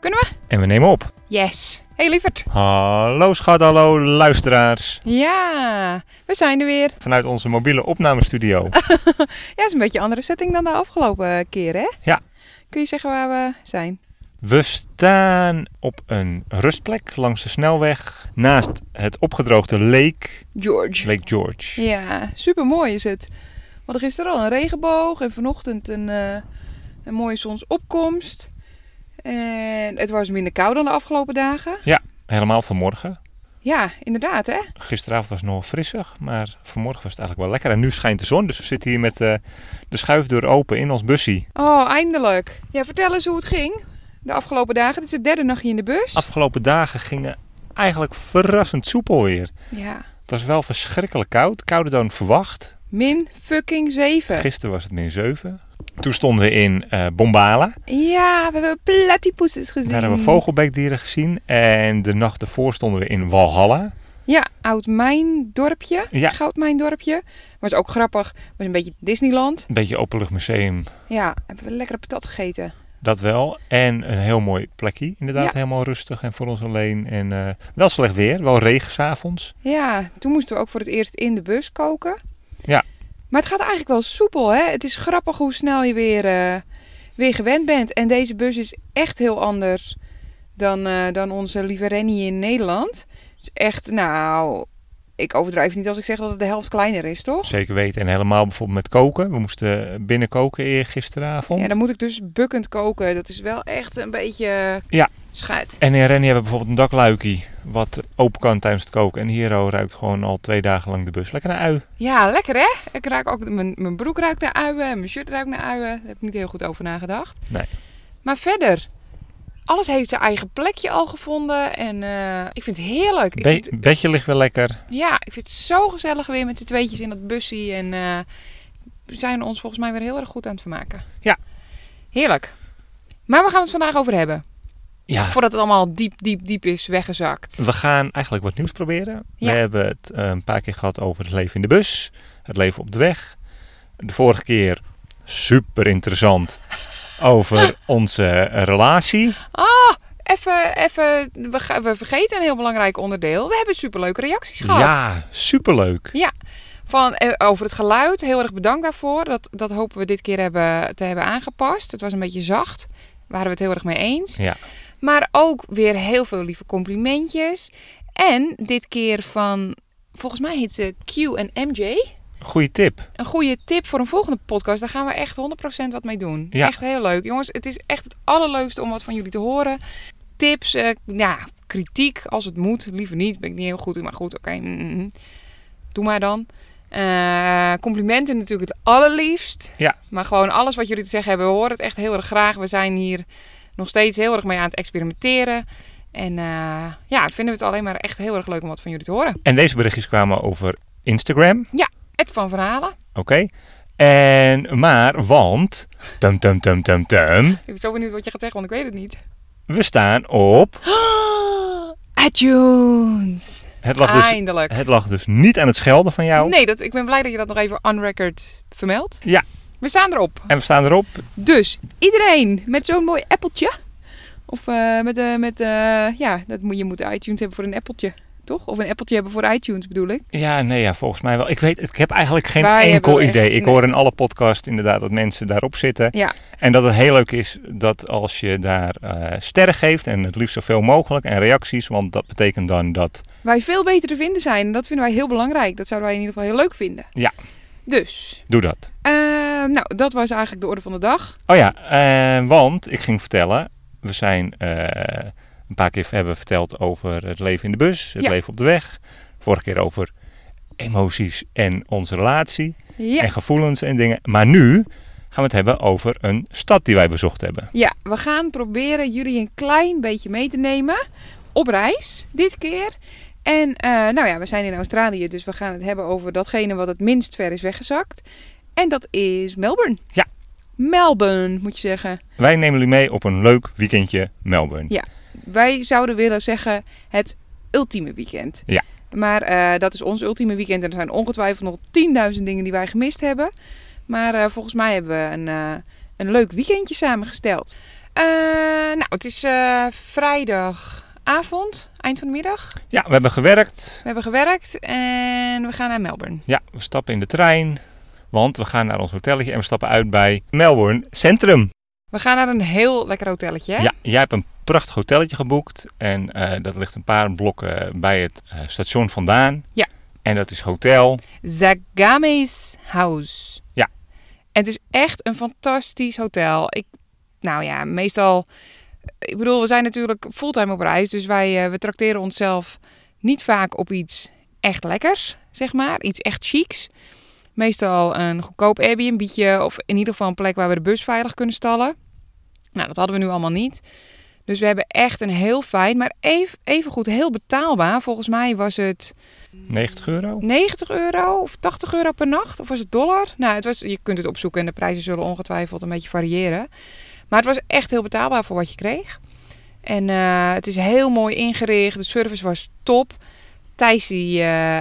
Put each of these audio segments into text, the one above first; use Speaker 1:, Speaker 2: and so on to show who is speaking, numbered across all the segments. Speaker 1: Kunnen
Speaker 2: we? En we nemen op.
Speaker 1: Yes! Hey lieverd!
Speaker 2: Hallo schat, hallo luisteraars.
Speaker 1: Ja, we zijn er weer.
Speaker 2: Vanuit onze mobiele opnamestudio.
Speaker 1: Ja, het is een beetje een andere setting dan de afgelopen keer, hè?
Speaker 2: Ja.
Speaker 1: Kun je zeggen waar we zijn?
Speaker 2: We staan op een rustplek langs de snelweg naast het opgedroogde leek,
Speaker 1: George.
Speaker 2: Lake George.
Speaker 1: Ja, super mooi is het. We hadden gisteren al een regenboog en vanochtend een, eh, een mooie zonsopkomst. En het was minder koud dan de afgelopen dagen.
Speaker 2: Helemaal vanmorgen.
Speaker 1: Ja, inderdaad hè.
Speaker 2: Gisteravond was het nog frissig, maar vanmorgen was het eigenlijk wel lekker. En nu schijnt de zon, dus we zitten hier met eh, de schuifdeur open in ons bussie.
Speaker 1: Oh, eindelijk. Ja, vertel eens hoe het ging de afgelopen dagen. Het is de derde nachtje in de bus.
Speaker 2: Afgelopen dagen gingen eigenlijk verrassend soepel weer.
Speaker 1: ja,
Speaker 2: Het was wel verschrikkelijk koud, kouder dan verwacht.
Speaker 1: min fucking zeven.
Speaker 2: Gisteren was het min 7. Toen stonden we in eh, Bombala.
Speaker 1: Ja, we hebben platypuses gezien.
Speaker 2: Daar hebben we vogelbeekdieren gezien. En de nacht ervoor stonden we in Walhalla.
Speaker 1: Ja, oud mijndorpje.
Speaker 2: Ja.
Speaker 1: Goudmijndorpje. Was ook grappig. Was een beetje Disneyland.
Speaker 2: Een beetje openluchtmuseum,
Speaker 1: Ja, hebben we lekkere patat gegeten.
Speaker 2: dat wel. En een heel mooi plekje. Inderdaad,
Speaker 1: Ja.
Speaker 2: helemaal rustig en voor ons alleen. En eh, wel slecht weer, wel regen s'avonds.
Speaker 1: Ja, toen moesten we ook voor het eerst in de bus koken.
Speaker 2: Ja.
Speaker 1: Maar het gaat eigenlijk wel soepel, hè? Het is grappig hoe snel je weer, eh, weer gewend bent. En deze bus is echt heel anders dan, eh, dan onze lieve Rennie in Nederland. Het is echt, nou, ik overdrijf niet als ik zeg dat het de helft kleiner is, toch?
Speaker 2: Zeker weten. En helemaal bijvoorbeeld met koken. We moesten eh, binnen koken eer gisteravond.
Speaker 1: Ja, dan moet ik dus bukkend koken. Dat is wel echt een beetje
Speaker 2: Ja.
Speaker 1: schijt.
Speaker 2: En in Rennie hebben we bijvoorbeeld een dakluikie. Wat open kan tijdens het koken. En Hero ruikt gewoon al twee dagen lang de bus. Lekker naar ui.
Speaker 1: Ja, lekker hè? Ik ruik ook, mijn, mijn broek ruikt naar uien en mijn shirt ruikt naar uien. Daar heb ik niet heel goed over nagedacht.
Speaker 2: Nee.
Speaker 1: Maar verder, alles heeft zijn eigen plekje al gevonden en eh, ik vind het heerlijk. Ik
Speaker 2: Be-
Speaker 1: vind,
Speaker 2: bedje ligt weer lekker.
Speaker 1: ja, ik vind het zo gezellig weer met z'n tweetjes in dat bussie en eh, we zijn ons volgens mij weer heel erg goed aan het vermaken.
Speaker 2: Ja.
Speaker 1: Heerlijk. Maar waar gaan we het vandaag over hebben?
Speaker 2: Ja,
Speaker 1: Voordat het allemaal diep, diep, diep is weggezakt.
Speaker 2: we gaan eigenlijk wat nieuws proberen.
Speaker 1: Ja.
Speaker 2: We hebben het eh, een paar keer gehad over het leven in de bus. Het leven op de weg. De vorige keer super interessant over onze eh, relatie.
Speaker 1: Even, even, we, ga- we vergeten een heel belangrijk onderdeel. We hebben superleuke reacties gehad.
Speaker 2: Ja, superleuk.
Speaker 1: Van, eh, over het geluid, heel erg bedankt daarvoor. Dat, dat hopen we dit keer hebben, te hebben aangepast. Het was een beetje zacht. Waren we het heel erg mee eens.
Speaker 2: Ja.
Speaker 1: Maar ook weer heel veel lieve complimentjes. En dit keer van, volgens mij heet ze Q en MJ.
Speaker 2: Goeie tip.
Speaker 1: Een goede tip voor een volgende podcast. Daar gaan we echt 100% wat mee doen.
Speaker 2: Ja.
Speaker 1: Echt heel leuk. Jongens, het is echt het allerleukste om wat van jullie te horen. Tips, eh, ja, kritiek als het moet. Liever niet, ben ik niet heel goed in. Maar goed, oké. mm, mm. Doe maar dan. Eh, complimenten natuurlijk het allerliefst.
Speaker 2: Ja.
Speaker 1: Maar gewoon alles wat jullie te zeggen hebben. We horen het echt heel erg graag. We zijn hier nog steeds heel erg mee aan het experimenteren. En eh, ja, vinden we het alleen maar echt heel erg leuk om wat van jullie te horen.
Speaker 2: En deze berichtjes kwamen over Instagram.
Speaker 1: Ed van Verhalen.
Speaker 2: Oké. En, maar, want, tum tum tum tum tum,
Speaker 1: Ik ben zo benieuwd wat je gaat zeggen, want ik weet het niet.
Speaker 2: we staan op...
Speaker 1: iTunes.
Speaker 2: Het lag, dus,
Speaker 1: Eindelijk.
Speaker 2: het lag dus niet aan het schelden van jou.
Speaker 1: Nee, dat, ik ben blij dat je dat nog even on record vermeldt.
Speaker 2: Ja.
Speaker 1: We staan erop.
Speaker 2: En we staan erop.
Speaker 1: Dus iedereen met zo'n mooi appeltje. Of eh, met, eh, met eh, ja, dat moet, je moet iTunes hebben voor een appeltje. Toch? Of een appeltje hebben voor iTunes bedoel ik.
Speaker 2: Ja, nee, ja, volgens mij wel. Ik weet, ik heb eigenlijk geen
Speaker 1: Wij hebben
Speaker 2: enkel
Speaker 1: echt-
Speaker 2: idee. Ik
Speaker 1: nee.
Speaker 2: hoor in alle podcasts inderdaad dat mensen daarop zitten.
Speaker 1: Ja.
Speaker 2: En dat het heel leuk is dat als je daar eh, sterren geeft en het liefst zoveel mogelijk en reacties, want dat betekent dan dat...
Speaker 1: Wij veel beter te vinden zijn. En dat vinden wij heel belangrijk. Dat zouden wij in ieder geval heel leuk vinden.
Speaker 2: Ja.
Speaker 1: Dus,
Speaker 2: Doe dat.
Speaker 1: eh, nou, dat was eigenlijk de orde van de dag.
Speaker 2: Oh ja, eh, want ik ging vertellen, we zijn eh, een paar keer hebben we verteld over het leven in de bus, het
Speaker 1: Ja.
Speaker 2: leven op de weg. Vorige keer over emoties en onze relatie
Speaker 1: Ja.
Speaker 2: en gevoelens en dingen. Maar nu gaan we het hebben over een stad die wij bezocht hebben.
Speaker 1: ja, we gaan proberen jullie een klein beetje mee te nemen op reis dit keer. En eh, nou ja, we zijn in Australië, dus we gaan het hebben over datgene wat het minst ver is weggezakt. En dat is Melbourne.
Speaker 2: Ja.
Speaker 1: Melbourne, moet je zeggen.
Speaker 2: Wij nemen jullie mee op een leuk weekendje Melbourne.
Speaker 1: Ja. Wij zouden willen zeggen het ultieme weekend.
Speaker 2: Ja.
Speaker 1: Maar eh, dat is ons ultieme weekend. En er zijn ongetwijfeld nog 10.000 dingen die wij gemist hebben. Maar eh, volgens mij hebben we een, eh, een leuk weekendje samengesteld. Eh, nou, het is eh, vrijdagavond, eind van de middag.
Speaker 2: Ja, we hebben gewerkt.
Speaker 1: We hebben gewerkt en we gaan naar Melbourne.
Speaker 2: Ja, we stappen in de trein. Want we gaan naar ons hotelletje en we stappen uit bij Melbourne Centrum.
Speaker 1: We gaan naar een heel lekker hotelletje. hè?
Speaker 2: Ja, jij hebt een prachtig hotelletje geboekt. En eh, dat ligt een paar blokken bij het eh, station vandaan.
Speaker 1: Ja.
Speaker 2: En dat is hotel.
Speaker 1: Zagame's House.
Speaker 2: Ja.
Speaker 1: En het is echt een fantastisch hotel. Ik, nou ja, meestal... Ik bedoel, we zijn natuurlijk fulltime op reis. Dus wij eh, we tracteren onszelf niet vaak op iets echt lekkers, zeg maar. Iets echt chics. Meestal een goedkoop Airbnb'tje. Of in ieder geval een plek waar we de bus veilig kunnen stallen. Nou, dat hadden we nu allemaal niet. Dus we hebben echt een heel fijn, maar even, evengoed heel betaalbaar. Volgens mij was het
Speaker 2: 90 euro.
Speaker 1: 90 euro of 80 euro per nacht? Of was het dollar? Nou, het was, je kunt het opzoeken en de prijzen zullen ongetwijfeld een beetje variëren. Maar het was echt heel betaalbaar voor wat je kreeg. En eh, het is heel mooi ingericht. De service was top. Thijs die, eh,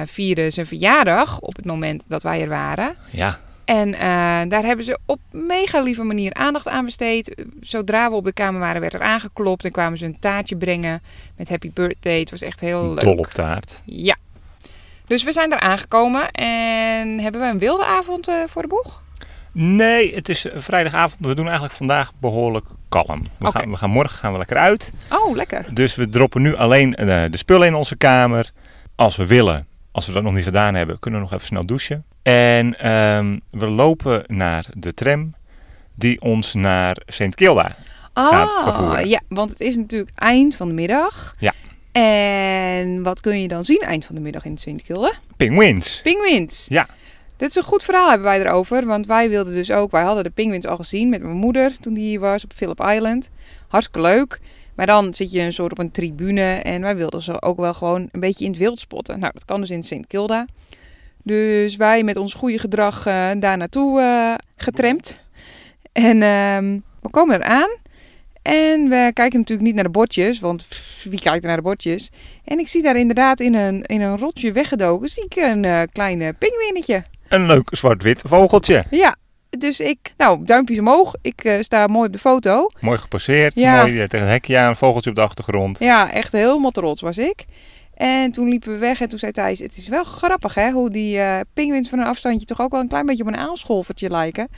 Speaker 1: eh, vierde zijn verjaardag op het moment dat wij er waren.
Speaker 2: Ja.
Speaker 1: En eh, daar hebben ze op mega lieve manier aandacht aan besteed. Zodra we op de kamer waren, werd er aangeklopt en kwamen ze een taartje brengen met happy birthday. Het was echt heel leuk.
Speaker 2: Dol op taart.
Speaker 1: Ja. Dus we zijn er aangekomen en hebben we een wilde avond eh, voor de boeg?
Speaker 2: Nee, het is eh, vrijdagavond. We doen eigenlijk vandaag behoorlijk kalm. We,
Speaker 1: Oké.
Speaker 2: gaan, we gaan morgen gaan we lekker uit.
Speaker 1: Oh, lekker.
Speaker 2: Dus we droppen nu alleen eh, de spullen in onze kamer. Als we willen, als we dat nog niet gedaan hebben, kunnen we nog even snel douchen. En ehm, we lopen naar de tram die ons naar Sint Kilda. Gaat vervoeren.
Speaker 1: Ah, ja, want het is natuurlijk eind van de middag.
Speaker 2: Ja.
Speaker 1: En wat kun je dan zien eind van de middag in Sint Kilde?
Speaker 2: Penguins.
Speaker 1: Pinguïns.
Speaker 2: Ja.
Speaker 1: Dit is een goed verhaal hebben wij erover, want wij wilden dus ook, wij hadden de pinguïns al gezien met mijn moeder toen die hier was op Phillip Island. Hartstikke leuk. Maar dan zit je een soort op een tribune en wij wilden ze ook wel gewoon een beetje in het wild spotten. Nou, dat kan dus in Sint Kilda. Dus wij met ons goede gedrag eh, daar naartoe eh getramd. En ehm, we komen eraan. En we kijken natuurlijk niet naar de bordjes, want pff, wie kijkt er naar de bordjes? En ik zie daar inderdaad in een, in een rotje weggedoken, zie ik een eh kleine pinguïnnetje.
Speaker 2: Een leuk zwart-wit vogeltje.
Speaker 1: Ja, dus ik, nou, duimpjes omhoog. Ik eh, sta mooi op de foto.
Speaker 2: Mooi gepasseerd.
Speaker 1: Ja.
Speaker 2: Mooi eh, tegen een hekje aan. Een vogeltje op de achtergrond.
Speaker 1: Ja, echt helemaal trots was ik. En toen liepen we weg en toen zei Thijs, het is wel grappig hè, hoe die eh pinguïns van een afstandje toch ook wel een klein beetje op een aalscholvertje lijken.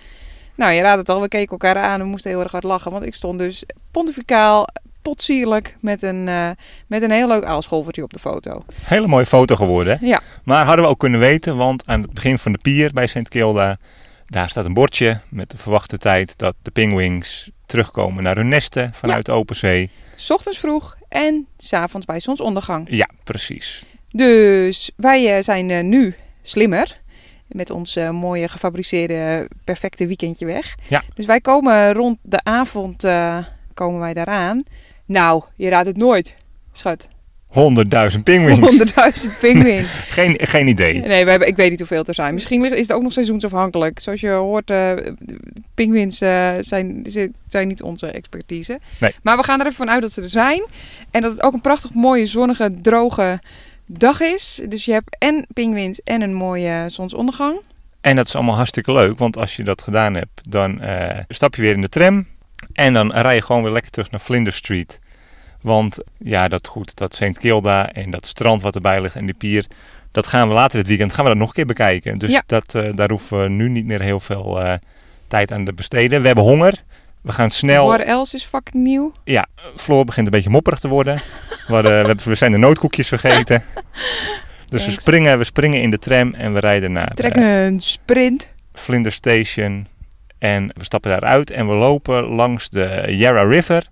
Speaker 1: Nou, je raadt het al, we keken elkaar aan en we moesten heel erg hard lachen, want ik stond dus pontificaal, potsierlijk, met een, eh, met een heel leuk aalscholvertje op de foto.
Speaker 2: Hele mooie foto geworden. hè?
Speaker 1: Ja.
Speaker 2: Maar hadden we ook kunnen weten, want aan het begin van de pier bij Sint Kilda, daar staat een bordje met de verwachte tijd dat de penguins terugkomen naar hun nesten vanuit de open zee.
Speaker 1: S ochtends vroeg en s'avonds bij zonsondergang.
Speaker 2: Ja, precies.
Speaker 1: Dus wij eh, zijn eh, nu slimmer. Met ons eh, mooie gefabriceerde eh, perfecte weekendje weg.
Speaker 2: Ja.
Speaker 1: Dus wij komen rond de avond eh, komen wij daaraan. Nou, je raadt het nooit, schat.
Speaker 2: 100.000 pinguïns.
Speaker 1: 100.000 pinguïns.
Speaker 2: Geen, geen idee.
Speaker 1: Nee, we hebben, ik weet niet hoeveel er zijn. Misschien ligt- is het ook nog seizoensafhankelijk. Zoals je hoort, eh pinguïns eh, zijn, zi- zijn niet onze expertise.
Speaker 2: Nee.
Speaker 1: Maar we gaan er even vanuit dat ze er zijn. En dat het ook een prachtig mooie, zonnige, droge dag is. Dus je hebt en pinguïns en een mooie zonsondergang.
Speaker 2: En dat is allemaal hartstikke leuk, want als je dat gedaan hebt, dan eh, stap je weer in de tram. En dan rij je gewoon weer lekker terug naar Flinders Street. Want ja, dat goed, dat St. Kilda en dat strand wat erbij ligt en die pier, dat gaan we later dit weekend gaan we dat nog een keer bekijken. Dus
Speaker 1: Ja.
Speaker 2: dat, eh, daar hoeven we nu niet meer heel veel eh, tijd aan te besteden. We hebben honger. We gaan snel.
Speaker 1: What else is fucking nieuw?
Speaker 2: Floor begint een beetje mopperig te worden. We, hadden- we, hebben- we zijn de nootkoekjes vergeten. Dus we
Speaker 1: Thanks.
Speaker 2: springen, we springen in de tram en we rijden naar
Speaker 1: Trek
Speaker 2: eh,
Speaker 1: een sprint.
Speaker 2: Flinders Station. En we stappen daaruit en we lopen langs de Yarra River.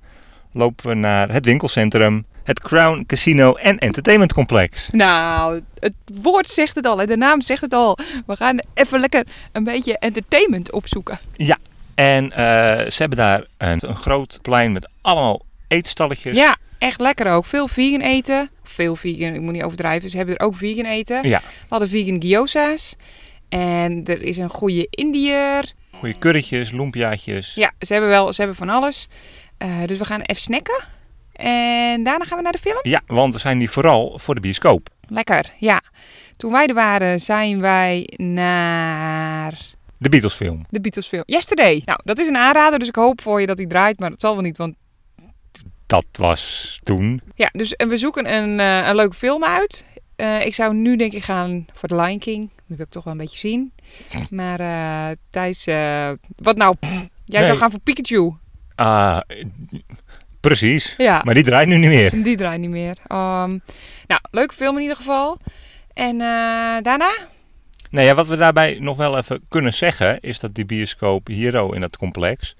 Speaker 2: Lopen we naar het winkelcentrum. het Crown Casino en Entertainment Complex.
Speaker 1: Nou, het woord zegt het al, hè? de naam zegt het al. We gaan even lekker een beetje entertainment opzoeken.
Speaker 2: En eh, ze hebben daar een, een groot plein met allemaal eetstalletjes.
Speaker 1: Ja, echt lekker ook. Veel vegan eten. Veel vegan, ik moet niet overdrijven. Ze hebben er ook vegan eten.
Speaker 2: Ja.
Speaker 1: We hadden vegan gyoza's. En er is een goede Indiër.
Speaker 2: Goeie kurretjes, loempiaatjes.
Speaker 1: Ja, ze hebben wel, ze hebben van alles. Eh, dus we gaan even snacken. En daarna gaan we naar de film.
Speaker 2: Ja, want we zijn hier vooral voor de bioscoop.
Speaker 1: Lekker, ja. Toen wij er waren, zijn wij naar
Speaker 2: De Beatles film.
Speaker 1: de Beatles film. Yesterday. Nou, dat is een aanrader, dus ik hoop voor je dat hij draait. Maar dat zal wel niet, want...
Speaker 2: Dat was toen.
Speaker 1: Ja, dus en we zoeken een, eh, een leuke film uit. Eh, ik zou nu denk ik gaan voor The Lion King. Die wil ik toch wel een beetje zien. Maar eh Thijs, eh, wat nou? Jij
Speaker 2: Nee.
Speaker 1: zou gaan voor Pikachu.
Speaker 2: Ah, eh, precies.
Speaker 1: Ja,
Speaker 2: Maar die draait nu niet meer.
Speaker 1: die draait niet meer. Ehm, nou, leuke film in ieder geval. En eh, daarna?
Speaker 2: Nou ja, wat we daarbij nog wel even kunnen zeggen is dat die bioscoop Hero in dat complex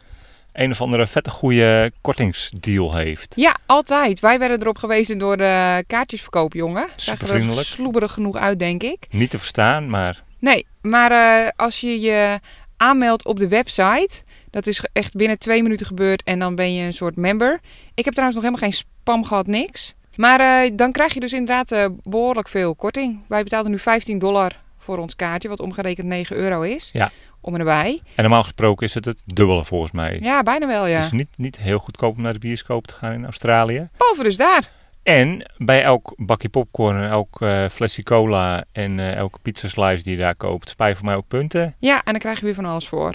Speaker 2: een of andere vette goede kortingsdeal heeft.
Speaker 1: Ja, altijd. Wij werden erop gewezen door de kaartjesverkoop, jongen. Zagen we
Speaker 2: Supervriendelijk.
Speaker 1: er sloeberig genoeg uit, denk ik.
Speaker 2: Niet te verstaan, maar
Speaker 1: Nee, maar eh, als je je aanmeldt op de website, dat is ge- echt binnen twee minuten gebeurd en dan ben je een soort member. Ik heb trouwens nog helemaal geen spam gehad, niks. Maar eh, dan krijg je dus inderdaad eh, behoorlijk veel korting. Wij betaalden nu 15 dollar voor ons kaartje, wat omgerekend 9 euro is.
Speaker 2: Ja.
Speaker 1: Om en erbij.
Speaker 2: en normaal gesproken is het het dubbele volgens mij.
Speaker 1: Ja, bijna wel,
Speaker 2: Het
Speaker 1: ja.
Speaker 2: is niet, niet heel goedkoop om naar de bioscoop te gaan in Australië.
Speaker 1: Behalve dus daar.
Speaker 2: En bij elk bakje popcorn en elk eh, flesje cola en eh, elke pizza slice die je daar koopt, spij voor mij ook punten.
Speaker 1: Ja, en dan krijg je weer van alles voor.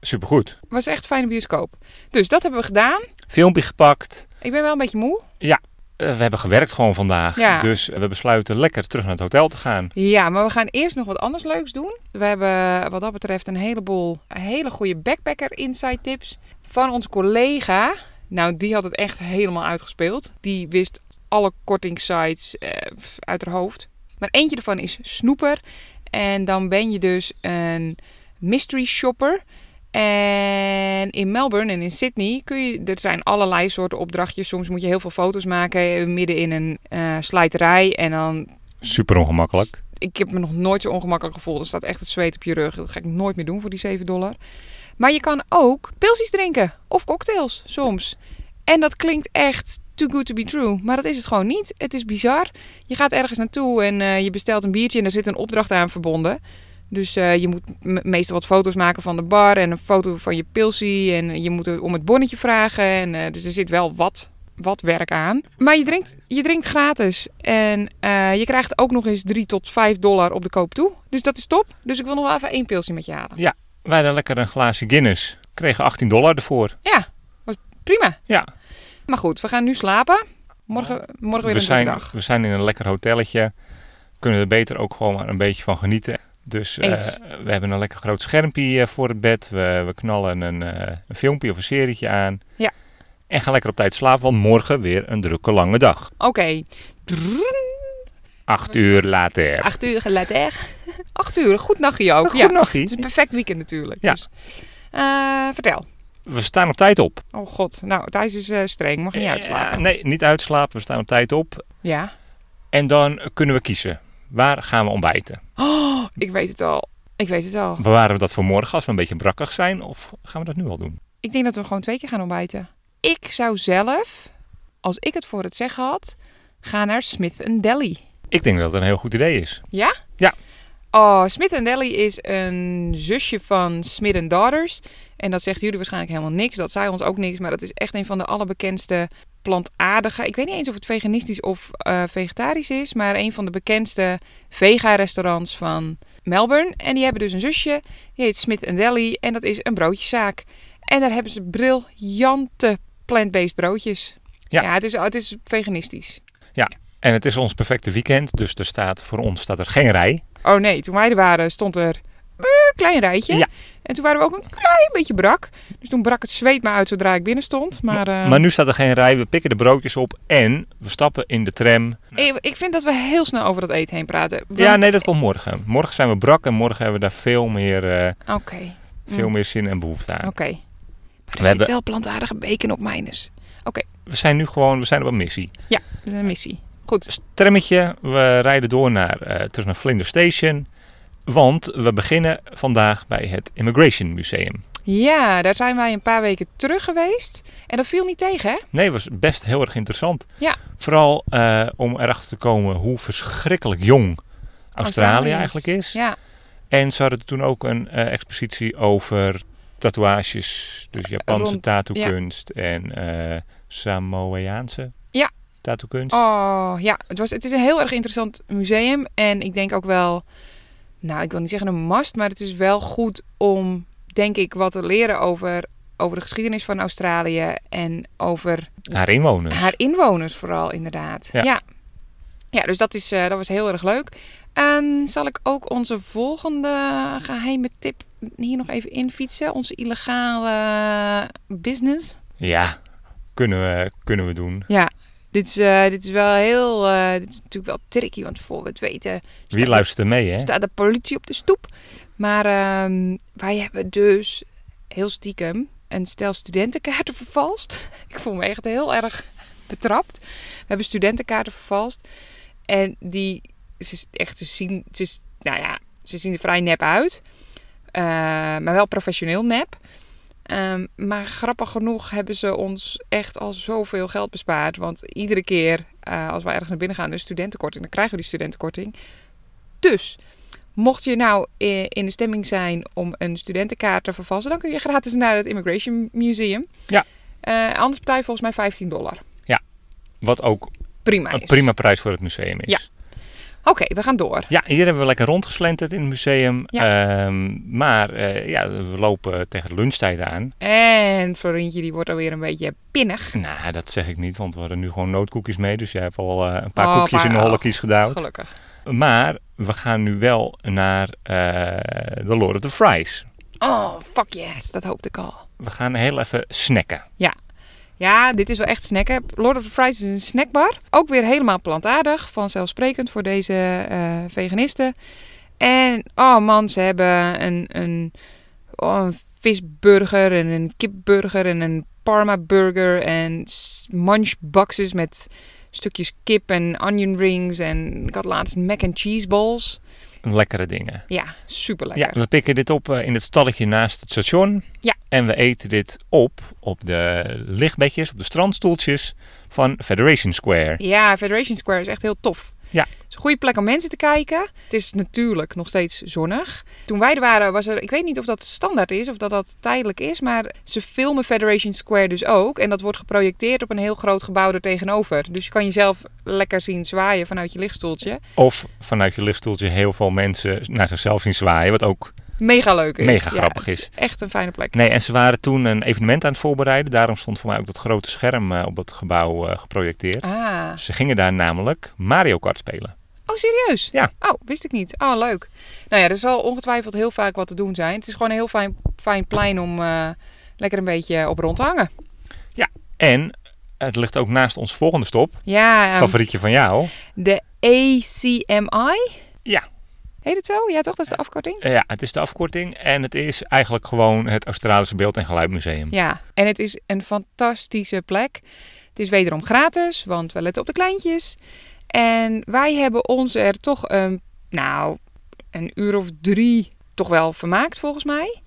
Speaker 2: Supergoed.
Speaker 1: Was echt een fijne bioscoop. Dus dat hebben we gedaan.
Speaker 2: Filmpje gepakt.
Speaker 1: Ik ben wel een beetje moe.
Speaker 2: Eh, we hebben gewerkt gewoon vandaag.
Speaker 1: Ja.
Speaker 2: Dus we besluiten lekker terug naar het hotel te gaan.
Speaker 1: Ja, maar we gaan eerst nog wat anders leuks doen. We hebben wat dat betreft een heleboel hele goede backpacker insight tips van onze collega. Nou, die had het echt helemaal uitgespeeld. Die wist alle kortingsites eh, pff, uit haar hoofd. Maar eentje ervan is snoeper. En dan ben je dus een mystery shopper. En in Melbourne en in Sydney kun je, er zijn allerlei soorten opdrachtjes. Soms moet je heel veel foto's maken midden in een eh slijterij. En dan
Speaker 2: Super ongemakkelijk.
Speaker 1: ik heb me nog nooit zo ongemakkelijk gevoeld. Er staat echt het zweet op je rug. Dat ga ik nooit meer doen voor die 7 dollar. Maar je kan ook pilsjes drinken. Of cocktails soms. En dat klinkt echt too good to be true. Maar dat is het gewoon niet. Het is bizar. Je gaat ergens naartoe en eh, je bestelt een biertje en daar zit een opdracht aan verbonden. Dus eh, je moet me- meestal wat foto's maken van de bar en een foto van je pilsie. En je moet er om het bonnetje vragen. En, eh, dus er zit wel wat, wat werk aan. Maar je drinkt, je drinkt gratis. En eh, je krijgt ook nog eens 3 tot 5 dollar op de koop toe. Dus dat is top. Dus ik wil nog wel even één pilsje met je halen.
Speaker 2: Wij hadden lekker een glaasje Guinness. Kregen 18 dollar ervoor.
Speaker 1: Prima.
Speaker 2: Ja,
Speaker 1: Maar goed, we gaan nu slapen. Morgen, morgen weer
Speaker 2: we
Speaker 1: een drukke
Speaker 2: zijn,
Speaker 1: dag.
Speaker 2: we zijn in een lekker hotelletje. Kunnen er beter ook gewoon maar een beetje van genieten. Dus eh,
Speaker 1: Eens.
Speaker 2: we hebben een lekker groot schermpje eh, voor het bed. We, we knallen een, eh, een filmpje of een serietje aan.
Speaker 1: Ja.
Speaker 2: En gaan lekker op tijd slapen, want morgen weer een drukke lange dag.
Speaker 1: Oké.
Speaker 2: Acht uur later.
Speaker 1: Acht uur later. Acht uur. Goed nachtje ook.
Speaker 2: Goed
Speaker 1: Ja.
Speaker 2: nachtie.
Speaker 1: Het is een perfect weekend natuurlijk.
Speaker 2: Ja.
Speaker 1: Dus, eh, vertel.
Speaker 2: We staan op tijd op.
Speaker 1: Oh god. Nou, Thijs is eh, streng. Mag niet
Speaker 2: Eh,
Speaker 1: uitslapen.
Speaker 2: nee, niet uitslapen. We staan op tijd op.
Speaker 1: Ja.
Speaker 2: En dan kunnen we kiezen. Waar gaan we ontbijten?
Speaker 1: Oh, ik weet het al. Ik weet het al.
Speaker 2: Bewaren we dat voor morgen als we een beetje brakkig zijn? Of gaan we dat nu al doen?
Speaker 1: Ik denk dat we gewoon twee keer gaan ontbijten. Ik zou zelf, als ik het voor het zeggen had, gaan naar Smith Deli.
Speaker 2: Ik denk dat het een heel goed idee is.
Speaker 1: Ja?
Speaker 2: Ja.
Speaker 1: Oh, Smith Deli is een zusje van Smith and Daughters. En dat zegt jullie waarschijnlijk helemaal niks. Dat zei ons ook niks. Maar dat is echt een van de allerbekendste plantaardige... Ik weet niet eens of het veganistisch of eh, vegetarisch is. Maar een van de bekendste vega-restaurants van Melbourne. En die hebben dus een zusje. Die heet Smith Deli. En dat is een broodjeszaak. En daar hebben ze briljante plant-based broodjes.
Speaker 2: Ja.
Speaker 1: het, is, het is veganistisch.
Speaker 2: En het is ons perfecte weekend, dus er staat, voor ons staat er geen rij.
Speaker 1: Oh nee, toen wij er waren stond er een klein rijtje.
Speaker 2: Ja.
Speaker 1: En toen waren we ook een klein beetje brak. Dus toen brak het zweet maar uit zodra ik binnen stond. Maar, eh,
Speaker 2: Maar nu staat er geen rij, we pikken de broodjes op en we stappen in de tram.
Speaker 1: ik, ik vind dat we heel snel over dat eten heen praten. Want-
Speaker 2: Ja, nee, dat komt morgen. Morgen zijn we brak en morgen hebben we daar veel meer, eh,
Speaker 1: Oké, oké.
Speaker 2: veel
Speaker 1: Mm.
Speaker 2: meer zin en behoefte aan.
Speaker 1: Maar er
Speaker 2: We
Speaker 1: zit
Speaker 2: hebben-
Speaker 1: wel plantaardige bacon op mijnes.
Speaker 2: We zijn nu gewoon, we zijn op een missie.
Speaker 1: Ja. de missie. Goed.
Speaker 2: Dus trammetje, we rijden door naar, eh, terug naar Flinders Station. Want we beginnen vandaag bij het Immigration Museum.
Speaker 1: Ja, daar zijn wij een paar weken terug geweest. En dat viel niet tegen, hè?
Speaker 2: Nee, was best heel erg interessant.
Speaker 1: Ja.
Speaker 2: Vooral eh, om erachter te komen hoe verschrikkelijk jong Australië, eigenlijk is.
Speaker 1: Ja,
Speaker 2: En ze hadden toen ook een eh, expositie over tatoeages. Dus Japanse
Speaker 1: Rond,
Speaker 2: tattookunst en eh Samoaanse
Speaker 1: Ja.
Speaker 2: tattookunst.
Speaker 1: Oh ja, het, was, het is een heel erg interessant museum. En ik denk ook wel, nou ik wil niet zeggen een must, maar het is wel goed om, denk ik, wat te leren over, over de geschiedenis van Australië en over
Speaker 2: Haar inwoners.
Speaker 1: haar inwoners vooral inderdaad.
Speaker 2: Ja.
Speaker 1: Ja, ja. dus dat, is, eh, dat was heel erg leuk. En zal ik ook onze volgende geheime tip hier nog even infietsen? Onze illegale business.
Speaker 2: Ja, kunnen we, kunnen we doen.
Speaker 1: Dit is, eh, dit is wel heel. eh, dit is natuurlijk wel tricky, want voor we het weten.
Speaker 2: Wie
Speaker 1: staat,
Speaker 2: luistert er mee, hè?
Speaker 1: staat de politie op de stoep. Maar ehm, wij hebben dus heel stiekem een stel studentenkaarten vervalst. Ik voel me echt heel erg betrapt. We hebben studentenkaarten vervalst. En die. Ze, is echt, ze zien. Ze, is- nou ja, ze zien er vrij nep uit. Eh, maar wel professioneel nep. Ehm, maar grappig genoeg hebben ze ons echt al zoveel geld bespaard. Want iedere keer eh, als wij ergens naar binnen gaan, dus studentenkorting, dan krijgen we die studentenkorting. Dus mocht je nou eh, in de stemming zijn om een studentenkaart te vervalsen, dan kun je gratis naar het Immigration Museum.
Speaker 2: Ja.
Speaker 1: Eh, anders betaal je volgens mij 15 dollar.
Speaker 2: Wat ook
Speaker 1: Prima
Speaker 2: een
Speaker 1: is.
Speaker 2: Ah, prima prijs voor het museum is.
Speaker 1: Ja. Oké, we gaan door.
Speaker 2: Ja, hier hebben we lekker rondgeslenterd in het museum. Ehm, maar eh, ja, we lopen tegen de lunchtijd aan.
Speaker 1: En Florentje die wordt alweer een beetje pinnig.
Speaker 2: Nou, dat zeg ik niet, want we hadden nu gewoon nootkoekjes mee. Dus jij hebt al eh, een paar
Speaker 1: Oh,
Speaker 2: koekjes
Speaker 1: maar-
Speaker 2: in de holle kies gedouwd.
Speaker 1: Gelukkig.
Speaker 2: Maar we gaan nu wel naar eh, de Lord of the Fries.
Speaker 1: Oh, fuck yes, dat hoopte ik al.
Speaker 2: We gaan heel even snacken.
Speaker 1: Ja, dit is wel echt snacken. Lord of the Fries is een snackbar. Ook weer helemaal plantaardig, vanzelfsprekend voor deze eh, veganisten. En oh man, ze hebben een, een, oh, een visburger en een kipburger en een parma burger en s- munchboxes met stukjes kip en onion rings en ik had laatst mac and cheese balls.
Speaker 2: Lekkere dingen.
Speaker 1: Ja, super lekker.
Speaker 2: Ja, we pikken dit op eh, in het stalletje naast het station.
Speaker 1: Ja.
Speaker 2: En we eten dit op op de lichtbedjes, op de strandstoeltjes van Federation Square.
Speaker 1: Ja, Federation Square is echt heel tof.
Speaker 2: Ja.
Speaker 1: Het is een goede plek om mensen te kijken. Het is natuurlijk nog steeds zonnig. Toen wij er waren, was er... Ik weet niet of dat standaard is of dat dat tijdelijk is. Maar ze filmen Federation Square dus ook. En dat wordt geprojecteerd op een heel groot gebouw er tegenover. Dus je kan jezelf lekker zien zwaaien vanuit je lichtstoeltje.
Speaker 2: Of vanuit je lichtstoeltje heel veel mensen naar zichzelf zien zwaaien. Wat ook.
Speaker 1: Mega leuk is.
Speaker 2: Mega
Speaker 1: Ja,
Speaker 2: grappig
Speaker 1: het
Speaker 2: is.
Speaker 1: Echt een fijne plek.
Speaker 2: Nee, en ze waren toen een evenement aan het voorbereiden. Daarom stond voor mij ook dat grote scherm eh, op dat gebouw eh, geprojecteerd.
Speaker 1: Ah.
Speaker 2: Ze gingen daar namelijk Mario Kart spelen.
Speaker 1: Oh, serieus?
Speaker 2: Ja.
Speaker 1: Oh, wist ik niet. Oh, leuk. Nou ja, er zal ongetwijfeld heel vaak wat te doen zijn. Het is gewoon een heel fijn, fijn plein om eh, lekker een beetje op rond te hangen.
Speaker 2: En het ligt ook naast onze volgende stop.
Speaker 1: Ja, ehm,
Speaker 2: Favorietje van jou.
Speaker 1: de ACMI.
Speaker 2: Ja.
Speaker 1: Heet het zo? Ja, toch? Dat is de afkorting?
Speaker 2: Eh, Ja, het is de afkorting. En het is eigenlijk gewoon het Australische Beeld- en Geluidmuseum.
Speaker 1: Ja. En het is een fantastische plek. Het is wederom gratis, want we letten op de kleintjes. En wij hebben ons er toch een, nou, een uur of drie toch wel vermaakt, volgens mij.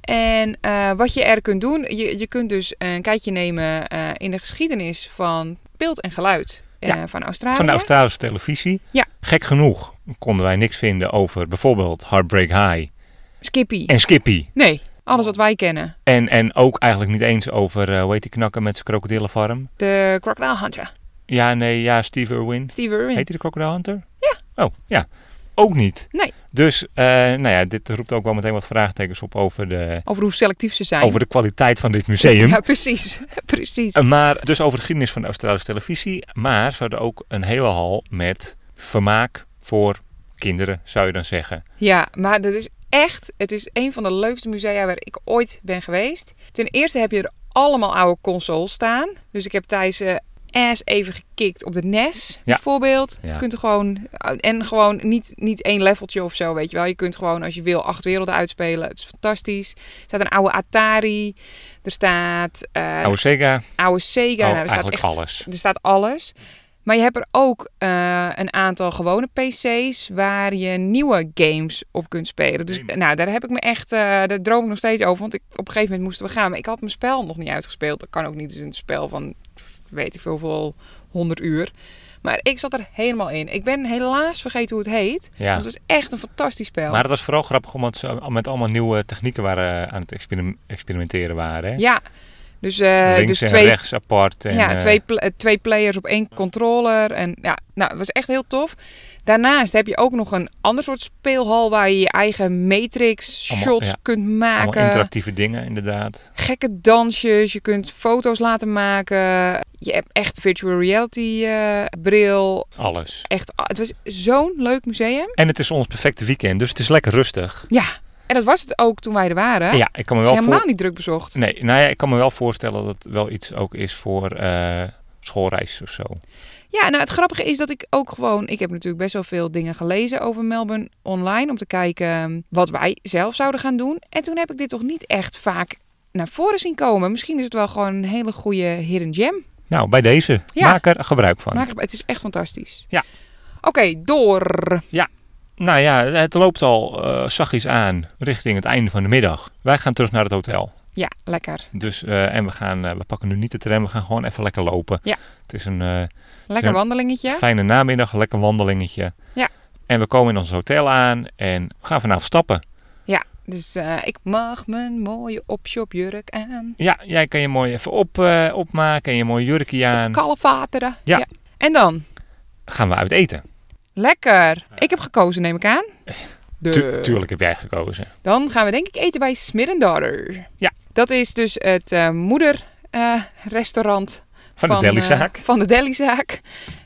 Speaker 1: En eh, wat je er kunt doen, je, je kunt dus een kijkje nemen eh, in de geschiedenis van beeld en geluid eh,
Speaker 2: Ja.
Speaker 1: van Australië.
Speaker 2: Van de Australische televisie.
Speaker 1: Ja.
Speaker 2: Gek genoeg konden wij niks vinden over bijvoorbeeld Heartbreak High
Speaker 1: Skippy.
Speaker 2: en Skippy.
Speaker 1: Nee, alles wat wij kennen.
Speaker 2: En, en ook eigenlijk niet eens over, eh hoe heet die knakker met zijn krokodillenfarm?
Speaker 1: De Crocodile Hunter.
Speaker 2: Ja, nee, ja, Steve Irwin.
Speaker 1: Steve Irwin.
Speaker 2: Heet hij de Crocodile Hunter? Ja. Oh, ja. Ook niet.
Speaker 1: Nee.
Speaker 2: Dus, eh, nou ja, dit roept ook wel meteen wat vraagtekens op over de,
Speaker 1: Over hoe selectief ze zijn.
Speaker 2: over de kwaliteit van dit museum.
Speaker 1: Ja, precies. precies.
Speaker 2: Eh, Maar, dus over de geschiedenis van de Australische televisie. Maar ze hadden ook een hele hal met vermaak voor kinderen, zou je dan zeggen.
Speaker 1: Ja, maar dat is echt... Het is een van de leukste musea waar ik ooit ben geweest. Ten eerste heb je er allemaal oude consoles staan. Dus ik heb Thijs eh ass even gekikt op de NES, bijvoorbeeld.
Speaker 2: Ja.
Speaker 1: Je kunt er gewoon... eh, En gewoon niet, niet één leveltje of zo, weet je wel. Je kunt gewoon, als je wil, acht werelden uitspelen. Het is fantastisch. Er staat een oude Atari. Er staat... eh,
Speaker 2: Oude Sega,
Speaker 1: oude Sega.
Speaker 2: Oh,
Speaker 1: nou, er staat
Speaker 2: eigenlijk
Speaker 1: echt,
Speaker 2: alles.
Speaker 1: Er staat alles. Maar je hebt er ook eh, een aantal gewone PC's waar je nieuwe games op kunt spelen. Dus
Speaker 2: Gamen.
Speaker 1: nou, daar heb ik me echt, eh, daar droom ik nog steeds over. Want ik, op een gegeven moment moesten we gaan. Maar ik had mijn spel nog niet uitgespeeld. Dat kan ook niet. Het is een spel van weet ik veel, hoeveel, 100 uur. Maar ik zat er helemaal in. Ik ben helaas vergeten hoe het heet.
Speaker 2: Ja.
Speaker 1: Want het is echt een fantastisch spel.
Speaker 2: Maar het was vooral grappig omdat ze met allemaal nieuwe technieken waren, eh, aan het experim- experimenteren waren. Hè?
Speaker 1: Ja, dus, eh,
Speaker 2: Links
Speaker 1: dus
Speaker 2: en
Speaker 1: twee,
Speaker 2: rechts apart. En,
Speaker 1: ja,
Speaker 2: eh,
Speaker 1: twee, pla- eh, twee players op één controller. En ja, nou, het was echt heel tof. Daarnaast heb je ook nog een ander soort speelhal waar je je eigen matrix shots
Speaker 2: Allemaal, ja.
Speaker 1: kunt
Speaker 2: allemaal
Speaker 1: maken.
Speaker 2: interactieve dingen inderdaad.
Speaker 1: Gekke dansjes, je kunt foto's laten maken. Je hebt echt virtual reality eh, bril.
Speaker 2: Alles.
Speaker 1: Echt, ah, het was zo'n leuk museum.
Speaker 2: En het is ons perfecte weekend, dus het is lekker rustig.
Speaker 1: Ja, en dat was het ook toen wij er waren.
Speaker 2: Ja, ik kan me
Speaker 1: het is
Speaker 2: wel
Speaker 1: helemaal
Speaker 2: voor...
Speaker 1: niet druk bezocht.
Speaker 2: Nee, nou ja, ik kan me wel voorstellen dat het wel iets ook is voor eh, schoolreis of zo.
Speaker 1: Ja, nou het grappige is dat ik ook gewoon... Ik heb natuurlijk best wel veel dingen gelezen over Melbourne online... om te kijken ehm, wat wij zelf zouden gaan doen. En toen heb ik dit toch niet echt vaak naar voren zien komen. Misschien is het wel gewoon een hele goede hidden gem.
Speaker 2: Nou, bij deze.
Speaker 1: Ja.
Speaker 2: Maak er gebruik van.
Speaker 1: Maar het is echt fantastisch.
Speaker 2: Ja.
Speaker 1: Oké, door.
Speaker 2: Nou ja, het loopt al eh zachtjes aan richting het einde van de middag. Wij gaan terug naar het hotel.
Speaker 1: Ja, lekker.
Speaker 2: Dus, eh, en we, gaan, eh, we pakken nu niet de tram, we gaan gewoon even lekker lopen.
Speaker 1: Ja.
Speaker 2: Het is een eh,
Speaker 1: Lekker
Speaker 2: Zo-
Speaker 1: wandelingetje.
Speaker 2: fijne namiddag, lekker wandelingetje.
Speaker 1: Ja.
Speaker 2: En we komen in ons hotel aan en we gaan vanavond stappen.
Speaker 1: Dus eh, ik mag mijn mooie opshopjurk aan.
Speaker 2: Ja, jij kan je mooi even op, eh, opmaken en je mooie jurkje aan.
Speaker 1: Kalfateren.
Speaker 2: Ja.
Speaker 1: En dan?
Speaker 2: Gaan we uit eten.
Speaker 1: Lekker. Ik heb gekozen, neem ik aan. De...
Speaker 2: Tu- tuurlijk heb jij gekozen.
Speaker 1: Dan gaan we denk ik eten bij Smith Daughter.
Speaker 2: Ja.
Speaker 1: Dat is dus het moederrestaurant
Speaker 2: Van, de delizaak.
Speaker 1: van eh, de delizaak.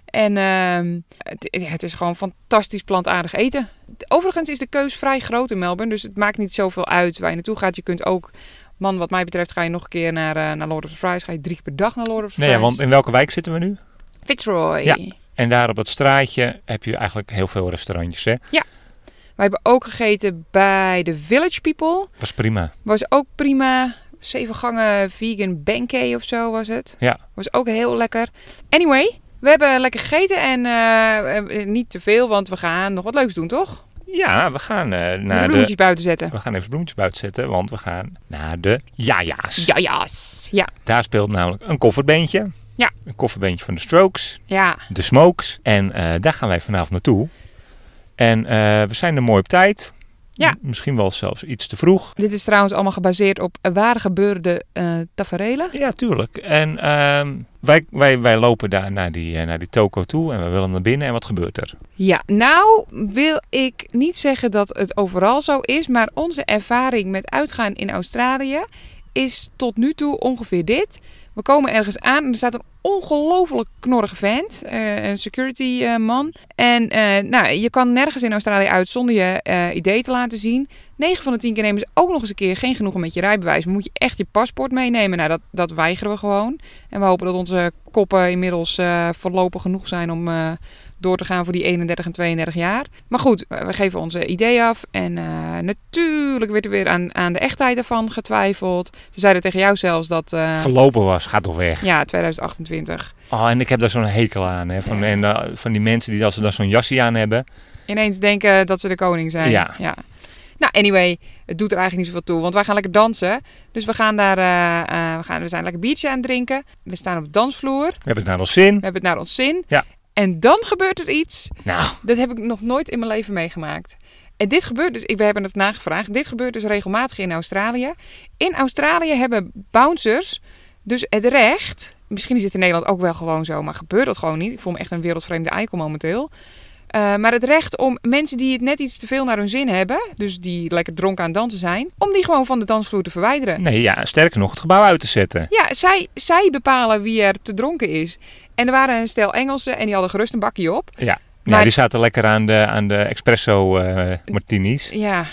Speaker 1: En ehm, het, ja, het is gewoon fantastisch plantaardig eten. Overigens is de keus vrij groot in Melbourne. Dus het maakt niet zoveel uit waar je naartoe gaat. Je kunt ook, man wat mij betreft, ga je nog een keer naar, eh, naar Lord of the Fries. Ga je drie keer per dag naar Lord of the
Speaker 2: nee,
Speaker 1: Fries.
Speaker 2: ja, want in welke wijk zitten we nu?
Speaker 1: Fitzroy.
Speaker 2: Ja. En daar op dat straatje heb je eigenlijk heel veel restaurantjes. Hè?
Speaker 1: We hebben ook gegeten bij de Village People.
Speaker 2: Was prima.
Speaker 1: Was ook prima. Zeven gangen vegan benkei of zo was het.
Speaker 2: Ja.
Speaker 1: Was ook heel lekker. Anyway, we hebben lekker gegeten en eh, eh, niet te veel, want we gaan nog wat leuks doen, toch?
Speaker 2: Ja, we gaan eh,
Speaker 1: de
Speaker 2: naar de...
Speaker 1: bloemetjes buiten zetten.
Speaker 2: We gaan even de bloemetjes buiten zetten, want we gaan naar de Jaja's.
Speaker 1: Ja, ja's. Ja,
Speaker 2: Daar speelt namelijk een kofferbeentje.
Speaker 1: Ja.
Speaker 2: Een kofferbeentje van de Strokes,
Speaker 1: ja.
Speaker 2: de Smokes. En eh, daar gaan wij vanavond naartoe. En eh, we zijn er mooi op tijd.
Speaker 1: Ja.
Speaker 2: M- misschien wel zelfs iets te vroeg.
Speaker 1: Dit is trouwens allemaal gebaseerd op waar gebeurde eh taferelen.
Speaker 2: Ja, tuurlijk. En ehm, wij, wij, wij lopen daar naar die, eh, naar die toko toe en we willen naar binnen. En wat gebeurt er?
Speaker 1: Ja, nou wil ik niet zeggen dat het overal zo is, maar onze ervaring met uitgaan in Australië is tot nu toe ongeveer dit. We komen ergens aan en er staat een ongelooflijk knorrige vent, eh, een security eh, man. En eh, nou, je kan nergens in Australië uit zonder je eh, idee te laten zien. 9 van de 10 keer nemen ze ook nog eens een keer geen genoegen met je rijbewijs. Maar moet je echt je paspoort meenemen? Nou, dat, dat weigeren we gewoon. En we hopen dat onze koppen inmiddels eh, voorlopig genoeg zijn om... eh, door te gaan voor die 31 en 32 jaar. Maar goed, we we geven onze idee af. En eh, natuurlijk werd er weer aan, aan de echtheid ervan getwijfeld. Ze zeiden tegen jou zelfs dat... eh,
Speaker 2: Verlopen was, gaat toch weg.
Speaker 1: ja, 2028.
Speaker 2: Oh, en ik heb daar zo'n hekel aan. Hè, van,
Speaker 1: Ja.
Speaker 2: en, eh, van die mensen die als ze daar zo'n jasje aan hebben.
Speaker 1: Ineens denken dat ze de koning zijn.
Speaker 2: Ja.
Speaker 1: Nou, anyway, het doet er eigenlijk niet zoveel toe. Want wij gaan lekker dansen. Dus we gaan daar... eh, eh, we, gaan, we zijn lekker biertje aan het drinken. We staan op de dansvloer.
Speaker 2: We hebben het naar ons zin.
Speaker 1: We hebben het naar ons zin.
Speaker 2: Ja.
Speaker 1: En dan gebeurt er iets
Speaker 2: Nou,
Speaker 1: Dat heb ik nog nooit in mijn leven meegemaakt. En dit gebeurt dus, ik- we hebben het nagevraagd, dit gebeurt dus regelmatig in Australië. In Australië hebben bouncers dus het recht, misschien is het in Nederland ook wel gewoon zo, maar gebeurt dat gewoon niet. Ik voel me echt een wereldvreemde eikel momenteel. Eh, maar het recht om mensen die het net iets te veel naar hun zin hebben, dus die lekker dronken aan het dansen zijn, om die gewoon van de dansvloer te verwijderen.
Speaker 2: nee, ja, sterker nog, het gebouw uit te zetten.
Speaker 1: Ja, zij, zij bepalen wie er te dronken is. En er waren een stel Engelsen en die hadden gerust een bakje op.
Speaker 2: Ja,
Speaker 1: Maar-
Speaker 2: die zaten lekker aan de, aan de espresso eh, martinis.
Speaker 1: Ja,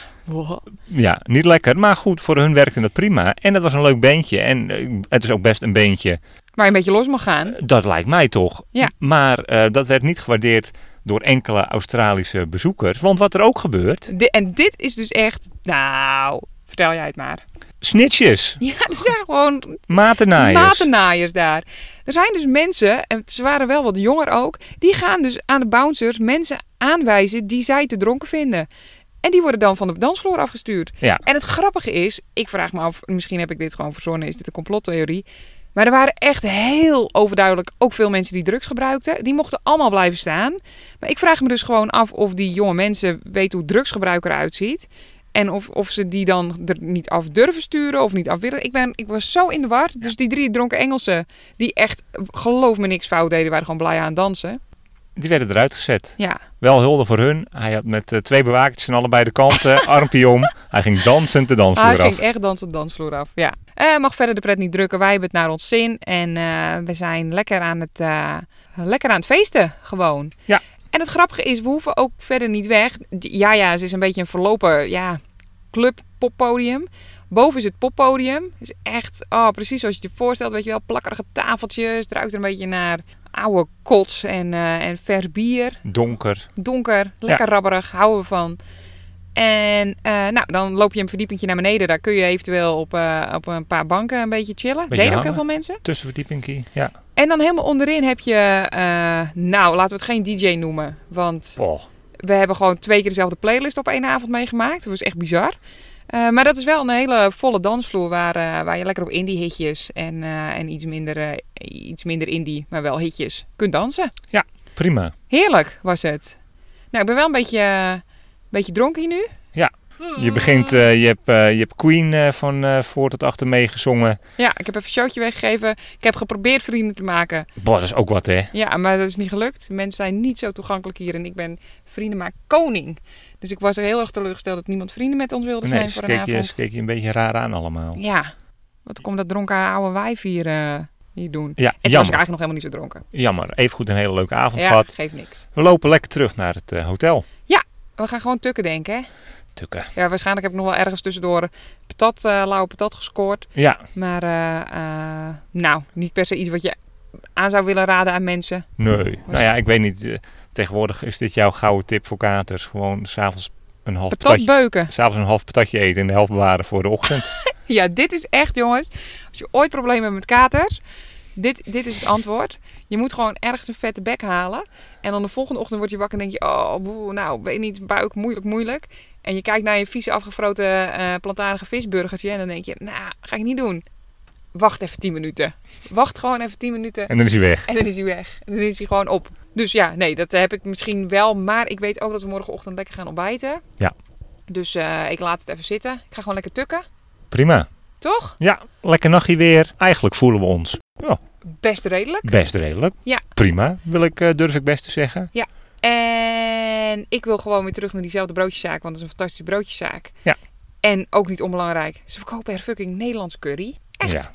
Speaker 2: Ja, niet lekker, maar goed, voor hun werkte dat prima. En dat was een leuk beentje. En eh, het is ook best een beentje.
Speaker 1: waar je een beetje los mag gaan.
Speaker 2: Dat lijkt mij toch.
Speaker 1: Ja.
Speaker 2: Maar eh, dat werd niet gewaardeerd door enkele Australische bezoekers. Want wat er ook gebeurt,
Speaker 1: Di- en dit is dus echt. Nou, vertel jij het maar.
Speaker 2: Snitches.
Speaker 1: Ja, er zijn gewoon
Speaker 2: Matenaaiers.
Speaker 1: matennaaiers daar. Er zijn dus mensen, en ze waren wel wat jonger ook, die gaan dus aan de bouncers mensen aanwijzen die zij te dronken vinden. En die worden dan van de dansvloer afgestuurd.
Speaker 2: Ja.
Speaker 1: En het grappige is, ik vraag me af, misschien heb ik dit gewoon verzonnen, is dit een complottheorie? Maar er waren echt heel overduidelijk ook veel mensen die drugs gebruikten. Die mochten allemaal blijven staan. Maar ik vraag me dus gewoon af of die jonge mensen weten hoe drugsgebruik eruit ziet. En of, of ze die dan er niet af durven sturen of niet af willen. Ik, ben, ik was zo in de war. Dus die drie dronken Engelsen, die echt, geloof me, niks fout deden, waren gewoon blij aan het dansen.
Speaker 2: Die werden eruit gezet.
Speaker 1: Ja,
Speaker 2: Wel hulde voor hun. Hij had met eh, twee bewakers aan allebei de kanten, armpje om. Hij ging dansend de dansvloer
Speaker 1: Hij
Speaker 2: af.
Speaker 1: ging echt dansen de dansvloer af. Ja. Eh, mag verder de pret niet drukken. Wij hebben het naar ons zin. En eh, we zijn lekker aan, het, eh, lekker aan het feesten gewoon.
Speaker 2: Ja.
Speaker 1: En het grappige is, we hoeven ook verder niet weg. D- Ja, ja, het is een beetje een verlopen ja, club poppodium. Boven is het poppodium. Dus echt, oh, precies zoals je het je voorstelt. Weet je wel, plakkerige tafeltjes. Het ruikt er een beetje naar oude kots en, eh en vers bier
Speaker 2: Donker.
Speaker 1: donker, lekker rabberig, houden we van. En eh, nou, dan loop je een verdiepingje naar beneden. Daar kun je eventueel op, eh, op een paar banken een beetje chillen.
Speaker 2: Beetje
Speaker 1: Deden ook
Speaker 2: hangen.
Speaker 1: heel veel mensen.
Speaker 2: Tussenverdiepingkie. Ja.
Speaker 1: En dan helemaal onderin heb je, eh, nou, laten we het geen DJ noemen. Want
Speaker 2: Oh.
Speaker 1: we hebben gewoon twee keer dezelfde playlist op één avond meegemaakt. Dat was echt bizar. Eh, maar dat is wel een hele volle dansvloer waar, eh, waar je lekker op indie hitjes en, eh, en iets, minder, eh, iets minder indie, maar wel hitjes kunt dansen.
Speaker 2: Prima.
Speaker 1: Heerlijk was het. Nou, ik ben wel een beetje, eh, een beetje dronken hier nu.
Speaker 2: Je begint, eh, je, hebt, eh, je hebt Queen eh, van eh, voor tot achter meegezongen.
Speaker 1: Ja, ik heb even een showtje weggegeven. Ik heb geprobeerd vrienden te maken.
Speaker 2: Boah, dat is ook wat, hè?
Speaker 1: Ja, maar dat is niet gelukt. Mensen zijn niet zo toegankelijk hier. En ik ben vrienden maar koning. Dus ik was heel erg teleurgesteld dat niemand vrienden met ons wilde
Speaker 2: Nee,
Speaker 1: zijn
Speaker 2: ze
Speaker 1: voor een
Speaker 2: keek, je,
Speaker 1: avond.
Speaker 2: ze keek je een beetje raar aan allemaal.
Speaker 1: Ja, wat komt dat dronken oude wijf hier, eh, hier doen?
Speaker 2: Ja,
Speaker 1: En toen was ik
Speaker 2: jammer. Oh,
Speaker 1: eigenlijk nog helemaal niet zo dronken.
Speaker 2: Jammer. Even goed een hele leuke avond
Speaker 1: Ja,
Speaker 2: gehad.
Speaker 1: geeft niks.
Speaker 2: We lopen lekker terug naar het eh, hotel.
Speaker 1: We gaan gewoon tukken denken, hè?
Speaker 2: Tukken.
Speaker 1: Ja, waarschijnlijk heb ik nog wel ergens tussendoor patat, eh, lauwe patat gescoord.
Speaker 2: Ja,
Speaker 1: Maar eh, eh, nou, niet per se iets wat je aan zou willen raden aan mensen.
Speaker 2: nee. Nou ja, ik weet niet. eh, tegenwoordig is dit jouw gouden tip voor katers. Gewoon s'avonds een half
Speaker 1: Patat
Speaker 2: patatje.
Speaker 1: beuken.
Speaker 2: S'avonds een half patatje eten en de helft bewaren voor de ochtend.
Speaker 1: Ja, dit is echt, jongens. Als je ooit problemen hebt met katers, dit, dit is het antwoord. Je moet gewoon ergens een vette bek halen. En dan de volgende ochtend word je wakker en denk je... Oh, boe, nou, weet niet, buik, moeilijk, moeilijk. En je kijkt naar je vieze afgefroten eh plantaardige visburgertje... en dan denk je, nou, ga ik niet doen. Wacht even 10 minuten. Wacht gewoon even 10 minuten.
Speaker 2: en dan is hij weg.
Speaker 1: En dan is hij weg. En dan is hij gewoon op. Dus ja, nee, dat heb ik misschien wel. Maar ik weet ook dat we morgenochtend lekker gaan ontbijten.
Speaker 2: Ja.
Speaker 1: Dus eh, ik laat het even zitten. Ik ga gewoon lekker tukken.
Speaker 2: Prima.
Speaker 1: Toch?
Speaker 2: Ja, lekker nachtje weer. Eigenlijk voelen we ons
Speaker 1: Best redelijk.
Speaker 2: best redelijk.
Speaker 1: Ja.
Speaker 2: Prima, wil ik, eh, durf ik best te zeggen.
Speaker 1: En ik wil gewoon weer terug naar diezelfde broodjeszaak. Want dat is een fantastische broodjeszaak.
Speaker 2: Ja.
Speaker 1: En ook niet onbelangrijk. Ze verkopen er fucking Nederlands curry. Echt.
Speaker 2: Ja.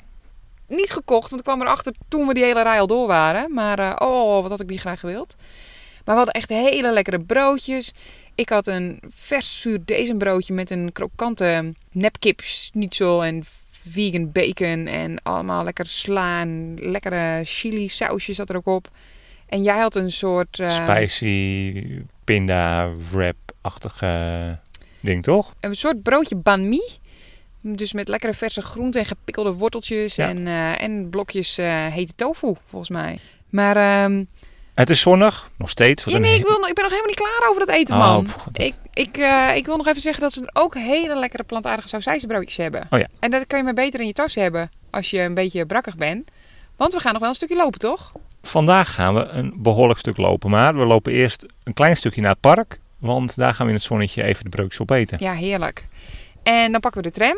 Speaker 1: Niet gekocht, want ik kwam erachter toen we die hele rij al door waren. Maar eh, oh, wat had ik die graag gewild. Maar we hadden echt hele lekkere broodjes. Ik had een vers zuurdezenbroodje met een krokante nepkip schnitzel en vegan bacon. En allemaal lekker sla en lekkere chili sausjes zat er ook op. En jij had een soort... eh,
Speaker 2: Spicy, pinda, wrap-achtige ding, toch?
Speaker 1: een soort broodje banh mi. Dus met lekkere verse groenten en gepikkelde worteltjes
Speaker 2: Ja.
Speaker 1: en, eh, en blokjes eh, hete tofu, volgens mij. Maar ehm,
Speaker 2: Het is zonnig, nog steeds. Wat
Speaker 1: ja,
Speaker 2: een
Speaker 1: nee,
Speaker 2: he-
Speaker 1: ik, wil, nog- ik ben nog helemaal niet klaar over dat eten,
Speaker 2: Oh,
Speaker 1: man.
Speaker 2: pff, dat-
Speaker 1: ik, ik, eh, ik wil nog even zeggen dat ze er ook hele lekkere plantaardige sausijzenbroodjes hebben.
Speaker 2: Oh ja.
Speaker 1: En dat kan je maar beter in je tas hebben als je een beetje brakkig bent. Want we gaan nog wel een stukje lopen, toch?
Speaker 2: Vandaag gaan we een behoorlijk stuk lopen, maar we lopen eerst een klein stukje naar het park. Want daar gaan we in het zonnetje even de breukjes opeten.
Speaker 1: Ja, heerlijk. En dan pakken we de tram.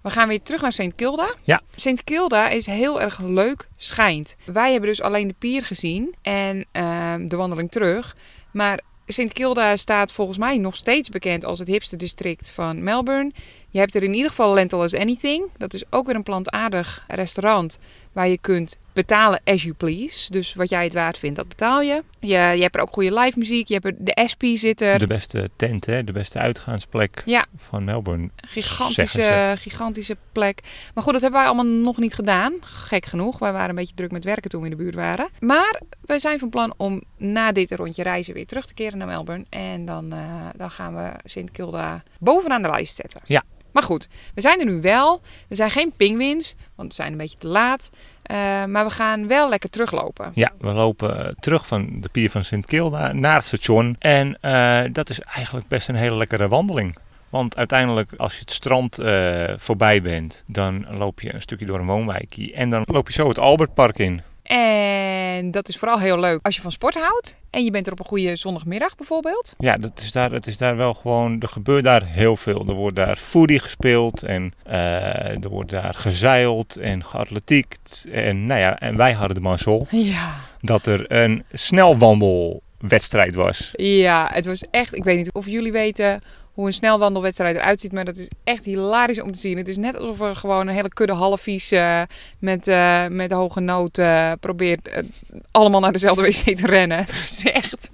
Speaker 1: We gaan weer terug naar Sint Kilda.
Speaker 2: Ja.
Speaker 1: Sint Kilda is heel erg leuk, schijnt. Wij hebben dus alleen de pier gezien en ehm, de wandeling terug. Maar Sint Kilda staat volgens mij nog steeds bekend als het hipste district van Melbourne. Je hebt er in ieder geval Lentil as Anything. Dat is ook weer een plantaardig restaurant waar je kunt betalen as you please. Dus wat jij het waard vindt, dat betaal je. Je, je hebt er ook goede live muziek. Je hebt er de SP zitten.
Speaker 2: De beste tent, hè? de beste uitgaansplek
Speaker 1: Ja.
Speaker 2: van Melbourne.
Speaker 1: Gigantische,
Speaker 2: Zeggen
Speaker 1: gigantische plek. Maar goed, dat hebben wij allemaal nog niet gedaan. Gek genoeg. Wij waren een beetje druk met werken toen we in de buurt waren. Maar wij zijn van plan om na dit rondje reizen weer terug te keren naar Melbourne. En dan, eh, dan gaan we Sint Kilda bovenaan de lijst zetten.
Speaker 2: Ja.
Speaker 1: Maar goed, we zijn er nu wel. Er zijn geen pinguïns, want we zijn een beetje te laat. Eh, maar we gaan wel lekker teruglopen.
Speaker 2: Ja, we lopen eh, terug van de pier van Sint Kilda naar het station. En eh, dat is eigenlijk best een hele lekkere wandeling. Want uiteindelijk, als je het strand eh, voorbij bent, dan loop je een stukje door een woonwijkje. En dan loop je zo het Albertpark in.
Speaker 1: En dat is vooral heel leuk als je van sport houdt. En je bent er op een goede zondagmiddag bijvoorbeeld.
Speaker 2: Ja, dat is daar, het is daar wel gewoon, er gebeurt daar heel veel. Er wordt daar foodie gespeeld en eh, er wordt daar gezeild en geatletiekt. En, nou ja, en wij hadden de mazzel
Speaker 1: Ja.
Speaker 2: dat er een snelwandelwedstrijd was.
Speaker 1: Ja, het was echt. Ik weet niet of jullie weten hoe een snelwandelwedstrijd eruit ziet, maar dat is echt hilarisch om te zien. Het is net alsof er gewoon een hele kudde halfies eh met, eh, met hoge nood eh, probeert eh, allemaal naar dezelfde wc te rennen. Het is echt. Het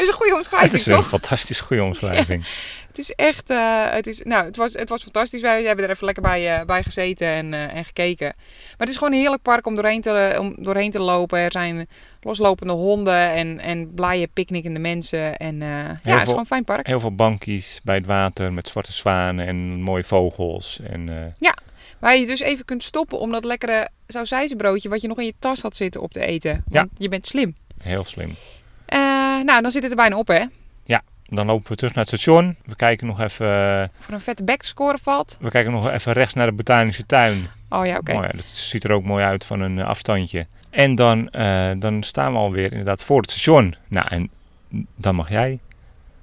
Speaker 1: is een goede omschrijving,
Speaker 2: Het is een
Speaker 1: toch?
Speaker 2: fantastisch goede omschrijving.
Speaker 1: Het is echt. eh, het, is, nou, het, was, het was fantastisch. Wij hebben er even lekker bij, eh, bij gezeten en, eh, en gekeken. Maar het is gewoon een heerlijk park om doorheen te, eh, om doorheen te lopen. Er zijn loslopende honden en, en blije picknickende mensen. En eh, ja, het is
Speaker 2: veel-
Speaker 1: gewoon een fijn park.
Speaker 2: Heel veel bankjes bij het water met zwarte zwanen en mooie vogels. En, eh,
Speaker 1: Waar je dus even kunt stoppen om dat lekkere sausijzenbroodje wat je nog in je tas had zitten op te eten. Want je bent slim.
Speaker 2: heel slim.
Speaker 1: Eh, nou, dan zit het er bijna op, hè?
Speaker 2: Dan lopen we terug naar het station. We kijken nog even, eh,
Speaker 1: Voor een vette back te scoren valt.
Speaker 2: we kijken nog even rechts naar de botanische tuin.
Speaker 1: Oh ja, oké.
Speaker 2: Nou ja, dat ziet er ook mooi uit van een eh, afstandje. En dan, eh, dan staan we alweer inderdaad voor het station. Nou, en dan mag jij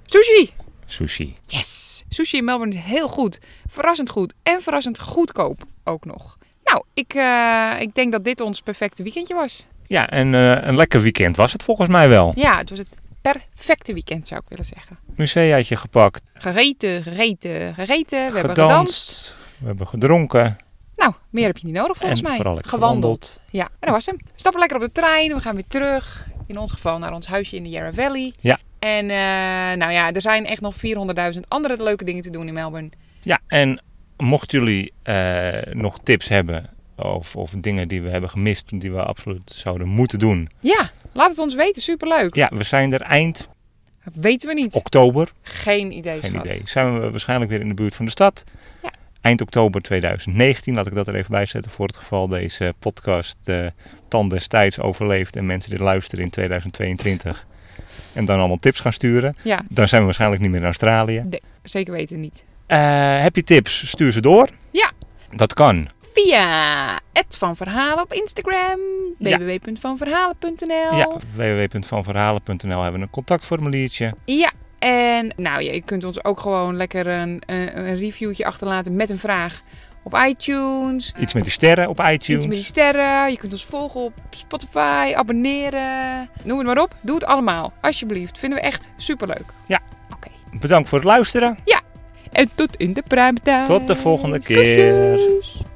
Speaker 1: Sushi!
Speaker 2: sushi.
Speaker 1: Yes! Sushi in Melbourne is heel goed. Verrassend goed. En verrassend goedkoop ook nog. Nou, ik, eh, ik denk dat dit ons perfecte weekendje was.
Speaker 2: Ja, en eh, een lekker weekend was het volgens mij wel.
Speaker 1: Ja, het was het perfecte weekend zou ik willen zeggen.
Speaker 2: Museaatje gepakt,
Speaker 1: Gereten, gereten, gereten. We hebben
Speaker 2: gedanst,
Speaker 1: gedanst.
Speaker 2: we hebben gedronken.
Speaker 1: Nou, meer heb je niet nodig volgens
Speaker 2: en
Speaker 1: mij.
Speaker 2: vooral lekker
Speaker 1: Ja, en dat was hem. We stappen lekker op de trein. We gaan weer terug. In ons geval naar ons huisje in de Yarra Valley.
Speaker 2: Ja.
Speaker 1: En eh, nou ja, er zijn echt nog 400.000 andere leuke dingen te doen in Melbourne.
Speaker 2: Ja, en mochten jullie eh, nog tips hebben of, of dingen die we hebben gemist, die we absoluut zouden moeten doen.
Speaker 1: Ja, laat het ons weten. Superleuk.
Speaker 2: Ja, we zijn er eind
Speaker 1: Dat weten we niet.
Speaker 2: oktober.
Speaker 1: Geen idee,
Speaker 2: Oh. Geen
Speaker 1: schat.
Speaker 2: idee. Zijn we waarschijnlijk weer in de buurt van de stad.
Speaker 1: Dus Ja.
Speaker 2: Eind oktober 2019, laat ik dat er even bij zetten voor het geval deze podcast eh tand destijds overleeft en mensen dit luisteren in 2022 en dan allemaal tips gaan sturen.
Speaker 1: Ja,
Speaker 2: Dan zijn we waarschijnlijk niet meer in Australië.
Speaker 1: zeker weten niet.
Speaker 2: Eh, heb je tips, stuur ze door.
Speaker 1: Ja.
Speaker 2: Dat kan.
Speaker 1: Via het van Verhalen op Instagram.
Speaker 2: Ja.
Speaker 1: www.vanverhalen.nl
Speaker 2: Ja, www.vanverhalen.nl hebben we een contactformuliertje.
Speaker 1: Ja, en nou ja, je kunt ons ook gewoon lekker een, een, een reviewtje achterlaten met een vraag op iTunes.
Speaker 2: Iets met die sterren op
Speaker 1: Iets met die
Speaker 2: iTunes.
Speaker 1: sterren. Je kunt ons volgen op Spotify, abonneren. Noem het maar op. Doe het allemaal. Alsjeblieft. Vinden we echt superleuk.
Speaker 2: Ja.
Speaker 1: Oké.
Speaker 2: Bedankt voor het luisteren.
Speaker 1: En tot in de pruimtuin.
Speaker 2: Tot de volgende keer.
Speaker 1: Kusjes.